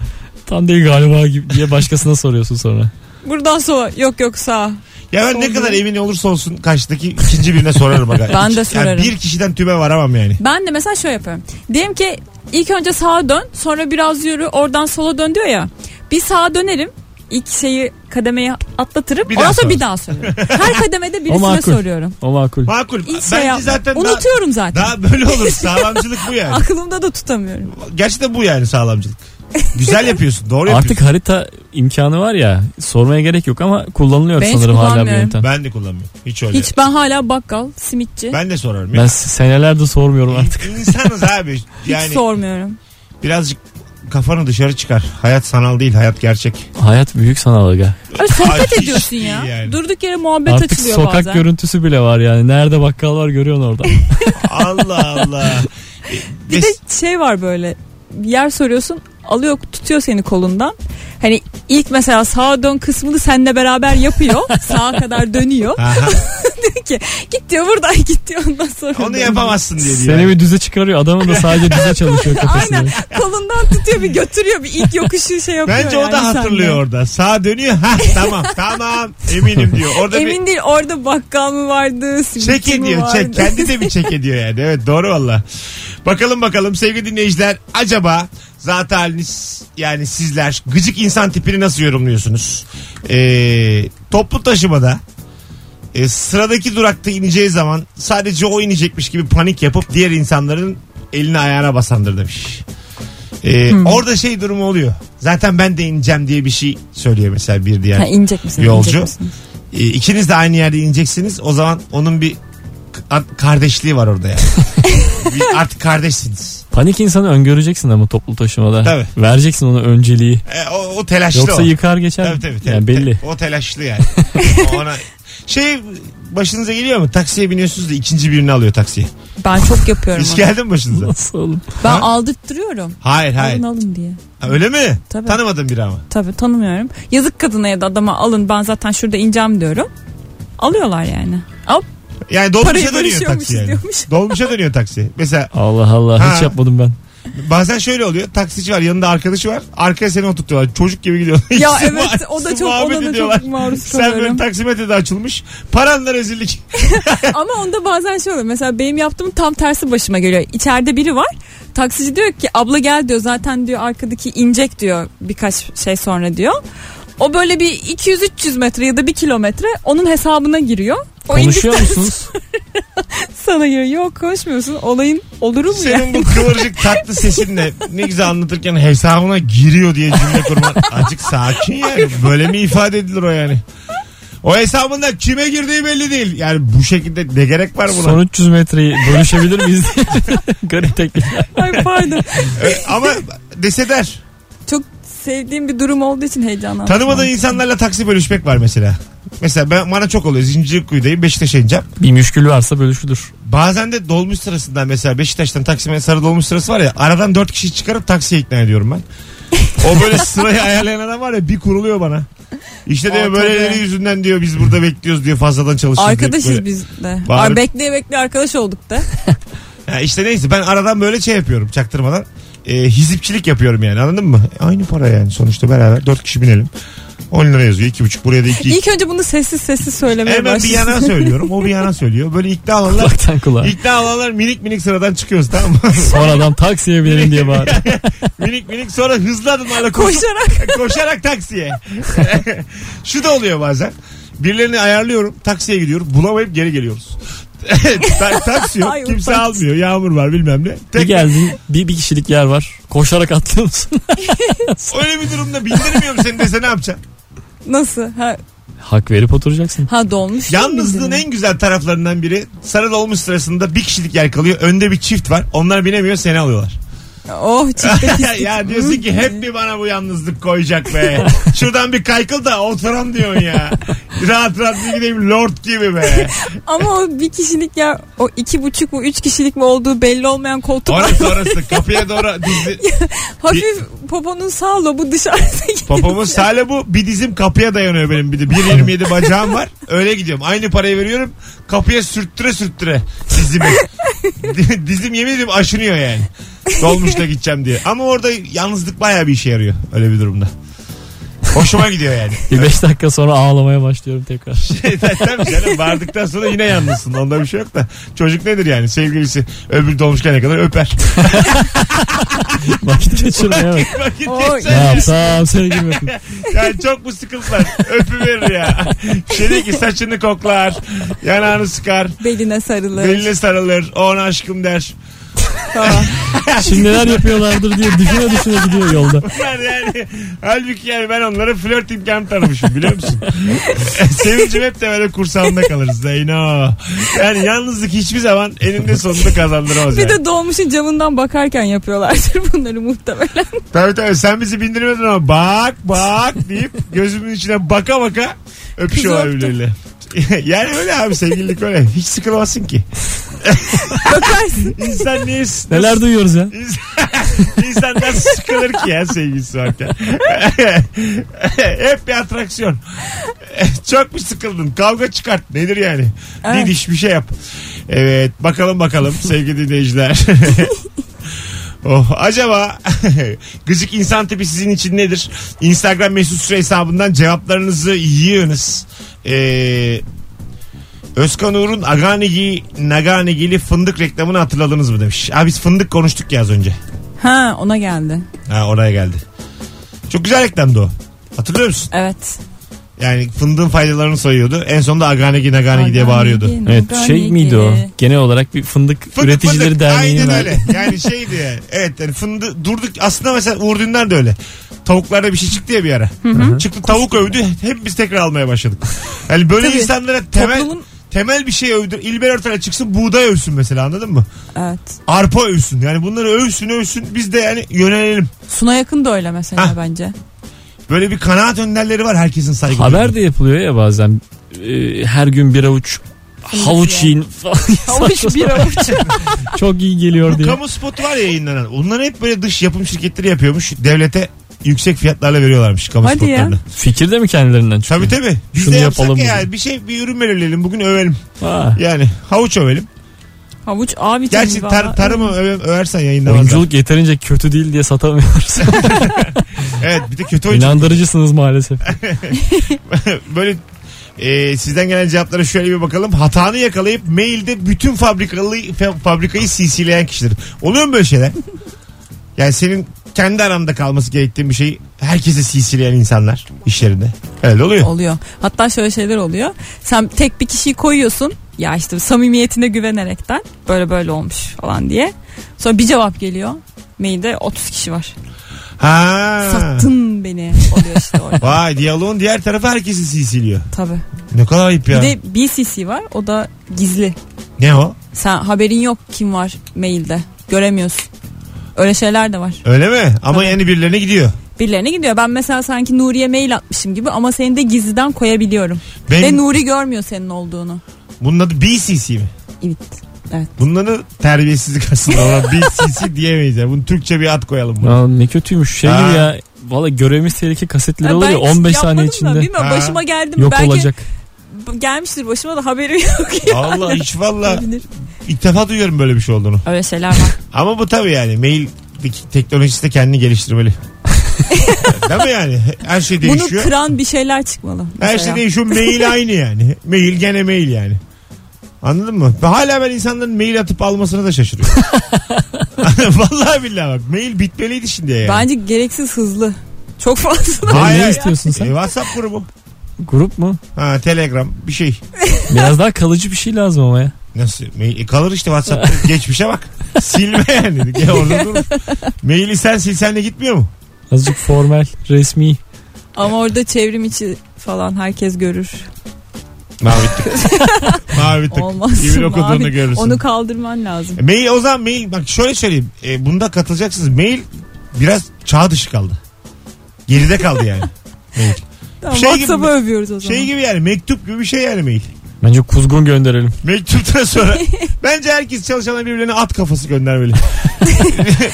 Tam değil galiba gibi diye başkasına [laughs] soruyorsun sonra. Buradan sola. Yok yok sağ. Ya ben ne Sorduğum- kadar emin olursa olsun karşıdaki ikinci birine sorarım. Aga. Ben de Yani sorarım. bir kişiden tüme varamam yani. Ben de mesela şöyle yapıyorum. Diyelim ki ilk önce sağa dön sonra biraz yürü oradan sola dön diyor ya. Bir sağa dönerim. ilk şeyi kademeyi atlatırım. Bir daha ondan sonra sor. bir daha soruyorum. Her [laughs] kademede birisine makul. soruyorum. O makul. Makul. İlk şey Bence yapmıyorum. zaten daha, Unutuyorum zaten. daha böyle olur. Sağlamcılık bu yani. Aklımda da tutamıyorum. Gerçekten bu yani sağlamcılık. Güzel yapıyorsun. Doğru Artık yapıyorsun. harita imkanı var ya sormaya gerek yok ama kullanılıyor Ben hiç sanırım hala bu kullanmıyorum. yöntem. Ben de kullanmıyorum. Hiç öyle. Hiç ben hala bakkal, simitçi. Ben de sorarım. Ben senelerde sormuyorum ya. artık. İnsanız abi. [laughs] Hiç Yani sormuyorum. birazcık kafanı dışarı çıkar. Hayat sanal değil, hayat gerçek. Hayat büyük sanal aga. Öyle sohbet hiç ediyorsun değil ya. yani. Durduk yere muhabbet Artık açılıyor sokak bazen. görüntüsü bile var yani. Nerede bakkal var [laughs] görüyorsun orada. Allah [laughs] Allah. E, Bir de şey var böyle bir yer soruyorsun alıyor tutuyor seni kolundan. Hani ilk mesela sağa dön kısmını seninle [laughs] beraber yapıyor. sağa kadar dönüyor. [laughs] Aha, Diyor ki git diyor buradan [laughs] git diyor ondan sonra. onu dön. yapamazsın diye diyor. Seni bir düze çıkarıyor. Adamın da sadece düze [laughs] çalışıyor kafasında. Aynen kolundan tutuyor bir götürüyor bir ilk yokuşu şey yapıyor. Bence o yani da hatırlıyor senden. orada. Sağa dönüyor. Ha tamam tamam eminim diyor. [laughs] Orada Emin değil orada bakkal mı vardı? bir simitçi çek mi ediyor. vardı? Çek, kendi de bir çek ediyor yani. Evet doğru valla. Bakalım bakalım sevgili dinleyiciler acaba zat haliniz yani sizler gıcık insan tipini nasıl yorumluyorsunuz? Ee, toplu taşımada e, sıradaki durakta ineceği zaman sadece o inecekmiş gibi panik yapıp diğer insanların eline ayağına basandır demiş. Ee, Orada şey durumu oluyor. Zaten ben de ineceğim diye bir şey söylüyor mesela bir diğer Ha, inecek misin? Yolcu. inecek misin? e, ikiniz de aynı yerde ineceksiniz. O zaman onun bir k- kardeşliği var orada [laughs] yani. Bir artık kardeşsiniz. Panik insanı öngöreceksin ama toplu taşımada. Tabii. Vereceksin ona önceliği. E, o, o telaşlı Yoksa o. yıkar geçer. Tabii, tabii, tabii. Yani belli. Te- O telaşlı [laughs] yani. Ona şey başınıza geliyor mu? Taksiye biniyorsunuz da ikinci birini alıyor taksiye. Ben çok yapıyorum Hiç onu. geldi mi başınıza? Nasıl oğlum? Ben Ha? aldırttırıyorum. Hayır hayır. Alın alın diye. Ha, Öyle mi? Tabii. Tanımadım biri ama. Tabii tanımıyorum. Yazık kadına ya da adama alın ben zaten şurada ineceğim diyorum. Alıyorlar yani. [laughs] Ama Yani Parayı dolmuşa dönüyor bölüşüyormuş taksi yani. [laughs] diyormuş. Dolmuşa dönüyor taksi. Mesela Allah Allah Ha. hiç yapmadım ben. bazen şöyle oluyor. Taksici var yanında arkadaşı var. Arkaya seni oturtuyorlar. Çocuk gibi gidiyor. [laughs] ya evet o da çok ona da çok maruz Sen böyle kalıyorum. taksimetre de açılmış. Paranla rezillik. [laughs] Ama onda bazen şey oluyor. Mesela benim yaptığımın tam tersi başıma geliyor. İçeride biri var. Taksici diyor ki abla gel diyor. Zaten diyor arkadaki inecek diyor birkaç şey sonra diyor. O böyle bir 200-300 metre ya da 1 kilometre onun hesabına giriyor. O Konuşuyor indikten [laughs] musunuz? [laughs] sana giriyor. Yok konuşmuyorsun. Olayın olur mu ya? Senin bu kıvırcık tatlı sesinle ne güzel anlatırken hesabına giriyor diye cümle kurman. Azıcık sakin yani. Böyle mi ifade edilir o yani? O hesabında kime girdiği belli değil. Yani bu şekilde ne gerek var buna? Son 300 metreyi bölüşebilir [laughs] miyiz [laughs] diye. Garip teklif. [laughs] Ay pardon. E, ama dese der. Çok sevdiğim bir durum olduğu için heyecanlandım. Tanımadığın insanlarla taksi bölüşmek var mesela. Mesela ben, bana çok oluyor. Zincirlikuyu'dayım Beşiktaş'a ineceğim. Bir müşkül varsa bölüşülür. Bazen de dolmuş sırasından mesela Beşiktaş'tan Taksim'e sarı dolmuş sırası var ya aradan dört kişi çıkarıp taksiye ikna ediyorum ben. O böyle sırayı ayarlayan adam var ya bir kuruluyor bana. İşte diyor Aa, böyleleri tabii. yüzünden diyor biz burada bekliyoruz diyor fazladan çalışıyoruz. Arkadaşız biz de. Bağırıp- Ay, bekleye bekleye arkadaş [laughs] olduk da. Ya işte neyse ben aradan böyle şey yapıyorum çaktırmadan. E, hizipçilik yapıyorum yani anladın mı? E, aynı para yani sonuçta beraber dört kişi binelim. 10 lira yazıyor iki buçuk buraya da iki. İlk önce bunu sessiz sessiz söylemeye Hemen bir yana başlıyorsun. söylüyorum o bir yana söylüyor. Böyle ikna alanlar Kulaktan kulağa. ikna alanlar minik minik sıradan çıkıyoruz tamam mı? Sonradan taksiye binelim diye [laughs] bağır. minik minik sonra hızlı adımlarla koşup [laughs] Koşarak. koşarak taksiye. [laughs] Şu da oluyor bazen. Birilerini ayarlıyorum. Taksiye gidiyorum. Bulamayıp geri geliyoruz. Ta- taksi yok. Ay, kimse utanç. almıyor. Yağmur var bilmem ne. Bir Tek, geldin bir, bir kişilik yer var. Koşarak atlıyor musun? [laughs] öyle bir durumda bildirmiyorum seni dese ne yapacaksın? Nasıl? Ha, Hak verip oturacaksın. ha dolmuş. değil Yalnızlığın miydi? en güzel taraflarından biri sarı dolmuş sırasında bir kişilik yer kalıyor. Önde bir çift var. Onlar binemiyor seni alıyorlar. [laughs] Oh çiftlik ya diyorsun ki hep mi bana bu yalnızlık koyacak be. Şuradan bir kaykıl da oturam diyorsun ya. Rahat rahat bir gideyim lord gibi be. Ama o bir kişilik yer o iki buçuk mu üç kişilik mi olduğu belli olmayan koltuk var. Orası orası kapıya doğru dizi. Hafif poponun sağ [laughs] lobu dışarıdaki. Popomuz sale bu bir dizim kapıya dayanıyor benim bir de 1.27 bacağım var öyle gidiyorum aynı parayı veriyorum kapıya sürttüre sürttüre dizimi [laughs] Di- dizim yemin ediyorum aşınıyor yani dolmuşta gideceğim diye ama orada yalnızlık bayağı bir işe yarıyor öyle bir durumda hoşuma gidiyor yani [laughs] Bir 5 dakika sonra ağlamaya başlıyorum tekrar. [laughs] Tabii canım vardıktan sonra yine yalnızsın. Onda bir şey yok da. Çocuk nedir yani? Sevgilisi öbür dolmuşken ne kadar öper. [laughs] Vakit geçirmeye bak. Vakit Oy. Ne geçer. yapsam sevgilim yapayım. Yani çok mu sıkıldılar? Öpüverir ya. Şöyle [laughs] ki saçını koklar. Yanağını sıkar. Beline sarılır. Beline sarılır. Ona aşkım der. falan. Şimdi neler yapıyorlardır diye düşüne düşüne gidiyor yolda. Bunlar yani halbuki yani ben onlara flört imkanı tanımışım biliyor [laughs] musun? Sevincim hep de böyle kursağımda kalır Zeyno. Yani yalnızlık hiçbir zaman eninde sonunda kazandıramaz Bir yani. de dolmuşun camından bakarken yapıyorlardır [laughs] bunları muhtemelen. Tabii tabii sen bizi bindirmedin ama bak bak deyip gözümün içine baka baka öpüşüyorlar Kızı öptüm. birbirleriyle. [laughs] yani öyle abi sevgililik öyle. Hiç sıkılamazsın ki. [laughs] Bakarsın. İnsan niye... Neler duyuyoruz ya. İnsan, [laughs] insan nasıl sıkılır ki ya sevgilisi varken? [laughs] Hep bir atraksiyon. [laughs] Çok mu sıkıldın? Kavga çıkart. Nedir yani? Evet. Bir diş bir şey yap. Evet bakalım bakalım sevgili dinleyiciler. [laughs] Oh, acaba [laughs] gıcık insan tipi sizin için nedir? Instagram mesut süre hesabından cevaplarınızı yığınız. Ee, Özkan Uğur'un Aganigi Naganigili fındık reklamını hatırladınız mı demiş. Abi biz fındık konuştuk ya az önce. Ha ona geldi. Ha oraya geldi. Çok güzel reklamdı o. Hatırlıyor musun? Evet. Yani fındığın faydalarını sayıyordu. En sonunda Aganigi Naganigi diye bağırıyordu. Evet şey miydi o? Genel olarak bir fındık, Fındık, üreticileri fındık. derneğinin Aynen verdiği- öyle. Yani şeydi yani. Evet yani fındık durduk. Aslında mesela Uğur Dündar da öyle. Tavuklarda bir şey çıktı ya bir ara. Çıktı tavuk övdü. Hep biz tekrar almaya başladık. Yani böyle Tabii. insanlara temel Toplumun- temel bir şey övdür. İlber Ortaylı çıksın buğday övsün mesela anladın mı? Evet. Arpa övsün. Yani bunları övsün övsün biz de yani yönelelim. Suna yakın da öyle mesela Ha. [laughs] bence. Böyle bir kanaat önderleri var herkesin saygı. Haber duyduğu. de yapılıyor ya bazen. Ee, her gün bir avuç havuç [laughs] yiyin falan. Havuç bir avuç. [laughs] Çok iyi geliyor Bu diye. kamu spotu var ya yayınlanan. Onları hep böyle dış yapım şirketleri yapıyormuş. Devlete yüksek fiyatlarla veriyorlarmış kamu Hadi ya. spotlarını. Fikir de mi kendilerinden çıkıyor? Tabii tabii. Biz Şunu de yapsak yapalım ya, bugün. bir şey bir ürün belirleyelim. Bugün övelim. Ha. Yani havuç övelim. Havuç A vitamini Gerçi tar valla. tarımı öve- översen yayınlamazlar. Oyunculuk yeterince kötü değil diye satamıyoruz. Evet bir de kötü oyuncu. [laughs] İnandırıcısınız maalesef. Böyle e, sizden gelen cevaplara şöyle bir bakalım. Hatanı yakalayıp mailde bütün fabrikalı fa- fabrikayı CC'leyen kişiler. Oluyor mu böyle şeyler? Yani senin kendi aranda kalması gerektiğin bir şeyi herkese CC'leyen insanlar işlerinde. Evet oluyor. oluyor. Hatta şöyle şeyler oluyor. Sen tek bir kişiyi koyuyorsun. Ya işte samimiyetine güvenerekten böyle böyle olmuş falan diye. Sonra bir cevap geliyor. Mailde 30 kişi var. Ha. Sattın beni oluyor [laughs] işte orada. Vay diyaloğun diğer tarafı herkesi silsiliyor. Tabii. Ne kadar ayıp ya. Bir de BCC var o da gizli. Ne o? Sen haberin yok kim var mailde. Göremiyorsun. Öyle şeyler de var. Öyle mi? Ama yani birilerine gidiyor. Birilerine gidiyor. Ben mesela sanki Nuri'ye mail atmışım gibi ama seni de gizliden koyabiliyorum. Ve Benim, Nuri görmüyor senin olduğunu. bunun adı BCC mi? Evet. Bunları terbiyesizlik aslında. Ona [laughs] BCC diyemeyiz. Yani. Bunu Türkçe bir ad koyalım. buna. Aa, ne kötüymüş şey Ha. gibi ya. Valla görevimiz tehlike kasetleri Ya olur ben ya 15 saniye yapmadım Da, içinde bilmiyorum Ha. başıma geldi mi? yok Belki olacak. gelmiştir başıma da haberim yok. [laughs] ya. Allah hiç valla [laughs] Olabilir. ilk defa duyuyorum böyle bir şey olduğunu. Öyle şeyler var. Ama bu tabii yani mail teknolojisi de kendini [laughs] geliştirmeli. Değil mi yani? Her şey Bunu değişiyor. kıran bir şeyler çıkmalı. Her mesela. şey değişiyor. Mail aynı yani. Mail gene mail yani. Anladın mı? Ve Hala ben insanların mail atıp almasına da şaşırıyorum. [laughs] [laughs] Vallahi billahi bak. Mail bitmeliydi şimdi yani. Bence gereksiz hızlı. Çok fazla. Ben Hayır. ne istiyorsun E, sen? WhatsApp grubu. Grup mu? Ha Telegram bir şey. Biraz daha kalıcı bir şey lazım ama ya. Nasıl? Mail, e, kalır işte WhatsApp [laughs] geçmişe bak. Silme yani. Gel orada durur. Maili sen silsen de gitmiyor mu? Azıcık formal, resmi. Ama orada çevrim içi falan herkes görür. Mavi tık. [laughs] Mavi tık. Olmaz. Kimin okuduğunu Abi, görürsün. Onu kaldırman lazım. E, Mail o zaman mail bak şöyle söyleyeyim. E, bunda katılacaksınız. Mail biraz çağ dışı kaldı. Geride kaldı [laughs] yani. Tamam, Şey gibi- WhatsApp'ı övüyoruz o zaman. şey gibi yani mektup gibi bir şey yani mail. Bence kuzgun gönderelim. Mektuptan [laughs] sonra bence herkes çalışanlar birbirlerine at kafası göndermeli.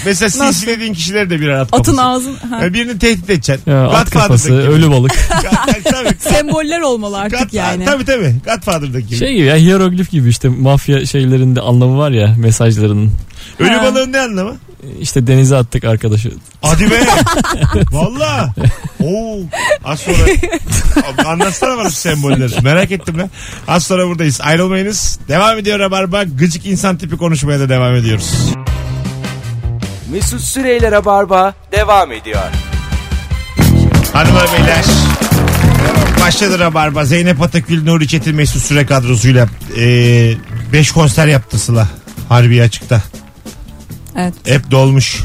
Mesela silsilediğin kişileri de birer at kafası. Atın ağzın. ha. Yani birini tehdit edeceksin. Ya, at Godfather'daki kafası, gibi. [laughs] ölü balık. [laughs] tabii. Semboller olmalı artık Godfather- yani. Tabii tabii. Godfather'daki gibi. [laughs] Şey gibi ya hieroglif gibi işte mafya şeylerinde anlamı var ya mesajlarının. Ölü Ha. balığın ne anlamı? İşte denize attık arkadaşı. Hadi be. Valla. Oo. Az sonra. Abi Anlatsana bana şu sembolleri. Merak ettim ben. Az sonra buradayız. Ayrılmayınız. Devam ediyor Rabarba. Gıcık insan tipi konuşmaya da devam ediyoruz. Mesut Süreyler'e barba devam ediyor. Hanımlar beyler. Başladı Rabarba. Zeynep Atakül, Nuri Çetin, Mesut Süre kadrosuyla 5 konser yaptı Sıla. Harbi açıkta. Evet. Hep dolmuş.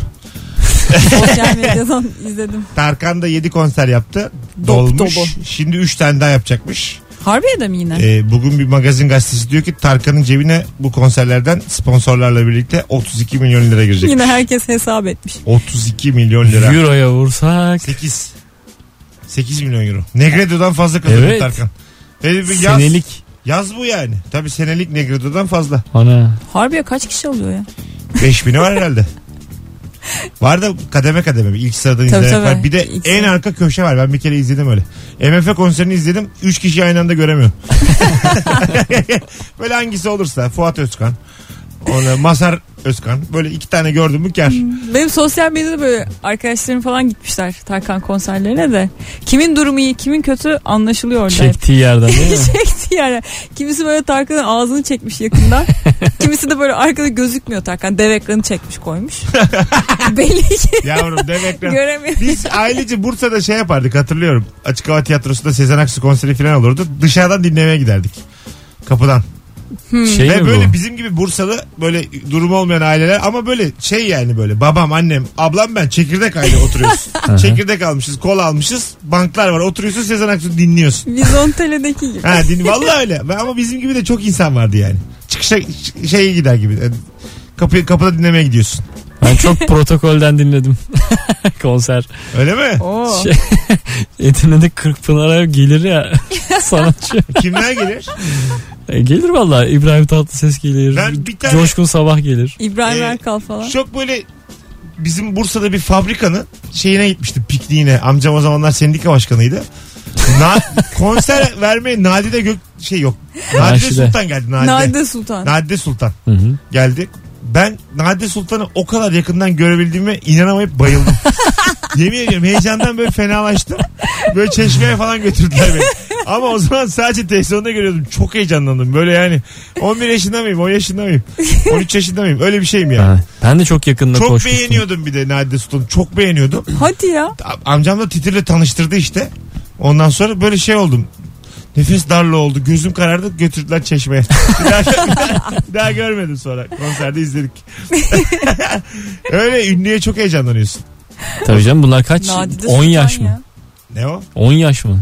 Sosyal medyadan [laughs] izledim. Tarkan da 7 konser yaptı. Dop Dolmuş. dolu. Şimdi 3 tane daha yapacakmış. Harbiye'de mi yine? Ee, bugün bir magazin gazetesi diyor ki Tarkan'ın cebine bu konserlerden sponsorlarla birlikte 32 milyon lira girecek. yine herkes hesap etmiş. 32 milyon lira. Euro'ya vursak 8. 8 milyon euro. Negredo'dan fazla kazanıyor Evet. Tarkan. Hele bir yaz, senelik. yaz bu yani. Tabii senelik Negredo'dan fazla. Ana. Harbiye kaç kişi oluyor ya? 5000'i var herhalde. Var da kademe kademe ilk sıradan Tabii, izlemek tabii. var. Bir de İlk en sıra. arka köşe var. Ben bir kere izledim öyle. MF konserini izledim. 3 kişi aynı anda göremiyorum. [laughs] böyle hangisi olursa Fuat Özkan. Ona Masar Özkan. Böyle iki tane gördüm mü [laughs] kar. Benim sosyal medyada böyle arkadaşlarım falan gitmişler Tarkan konserlerine de. Kimin durumu iyi, kimin kötü anlaşılıyor orada. [laughs] hep. Çektiği yerden [laughs] değil mi? Çekti yani. Kimisi böyle Tarkan'ın ağzını çekmiş yakından. Kimisi de böyle arkada gözükmüyor Tarkan. Dev ekranı çekmiş koymuş. Belli ki Yavrum demek lan. göremiyor. Biz ailece Bursa'da şey yapardık hatırlıyorum. Açık hava tiyatrosunda Sezen Aksu konseri falan olurdu. Dışarıdan dinlemeye giderdik. Kapıdan. şey Ve mi böyle bu? bizim gibi Bursalı böyle durumu olmayan aileler ama böyle şey yani böyle babam annem ablam ben çekirdek aile [laughs] oturuyoruz. çekirdek almışız kol almışız banklar var oturuyorsun Sezen Aksu dinliyorsun. Vizontele'deki [laughs] gibi. Ha din vallahi öyle Ben- ama bizim gibi de çok insan vardı yani. Çıkışa ç- şeye gider gibi. Yani Kapı, kapıda dinlemeye gidiyorsun. Ben çok protokolden [laughs] dinledim. Konser. Öyle mi? Oo. Şey, Edirne'de Kırkpınar'a gelir [laughs] ya sanatçı. Kimler gelir? E, gelir valla İbrahim Tatlıses gelir. Ben bir tane- Coşkun Sabah gelir. İbrahim Ee, Erkal falan. Çok böyle bizim Bursa'da bir fabrikanın şeyine gitmiştim pikniğine. Amcam o zamanlar sendika başkanıydı. Na, konser vermeye Nadide Gök şey yok. Nadide Naşide. Sultan geldi Nadide. Nadide. Nadide Sultan. Sultan Hı hı. geldi. Ben Nadide Sultan'ı o kadar yakından görebildiğime inanamayıp bayıldım. Yemin ediyorum heyecandan böyle fenalaştım. Böyle çeşmeye falan götürdüler beni. Ama o zaman sadece televizyonda görüyordum. Çok heyecanlandım. Böyle yani 11 yaşında mıyım, 10 yaşında mıyım, 13 yaşında mıyım? Öyle bir şeyim yani. Ha, Ben de çok yakında Çok koşmuştum. beğeniyordum bir de Nadide Sultan'ı. Çok beğeniyordum. Hadi ya. A- Amcam da titirle tanıştırdı işte. Ondan sonra böyle şey oldum. Nefes darlığı oldu. Gözüm karardı. Götürdüler çeşmeye. [laughs] Bir daha, bir daha- bir daha [laughs] görmedim sonra. Konserde izledik. Öyle ünlüye çok heyecanlanıyorsun. Tabii canım bunlar kaç? Nadide 10 yaş Sultan mı? ya. Ne o? 10 yaş mı?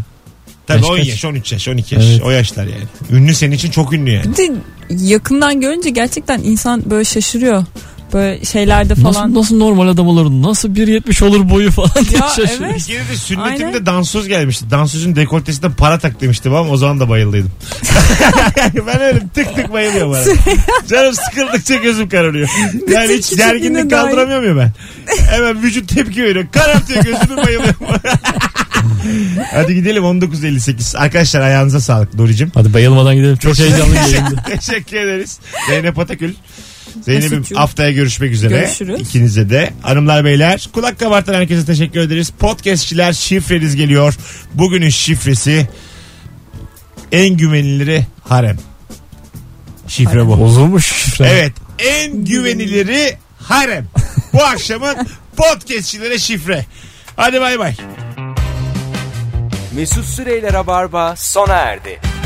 Tabii Yaş 10 kaç? yaş, 13 yaş, 12 yaş. Evet. O yaşlar yani. Ünlü senin için çok ünlü yani. Bir de yakından görünce gerçekten insan böyle şaşırıyor. Böyle şeylerde falan. Nasıl, nasıl normal adam olur? Nasıl 1.70 olur boyu falan diye Ya şaşırıyorum. evet. Bir kere de sünnetimde Aynen. dansöz gelmişti. Dansözün dekoltesinde para tak demiştim ama o zaman da bayıldıydım. [laughs] ben öyle tık tık bayılıyorum [laughs] bana. Canım sıkıldıkça gözüm kararıyor. Yani hiç küçüklüğüne gerginlik dair. kaldıramıyorum ya ben. Hemen vücut tepki veriyor. Karartıyor gözümü bayılıyorum. [laughs] Hadi gidelim 19.58. Arkadaşlar ayağınıza sağlık Doricim. Hadi bayılmadan gidelim. Çok [laughs] [laughs] heyecanlı yayındı. Teşekkür ederiz. Zeynep Atakül. Zeynep'im Mesut'cum. haftaya görüşmek üzere. Görüşürüz. İkinize de. Hanımlar beyler kulak kabartan herkese teşekkür ederiz. Podcastçiler şifreniz geliyor. Bugünün şifresi en güveniliri harem. Şifre bu. Bozulmuş şifre. Evet en güveniliri harem. Bu [laughs] akşamın podcastçilere şifre. Hadi bay bay. Mesut Süreyler'e barba sona erdi.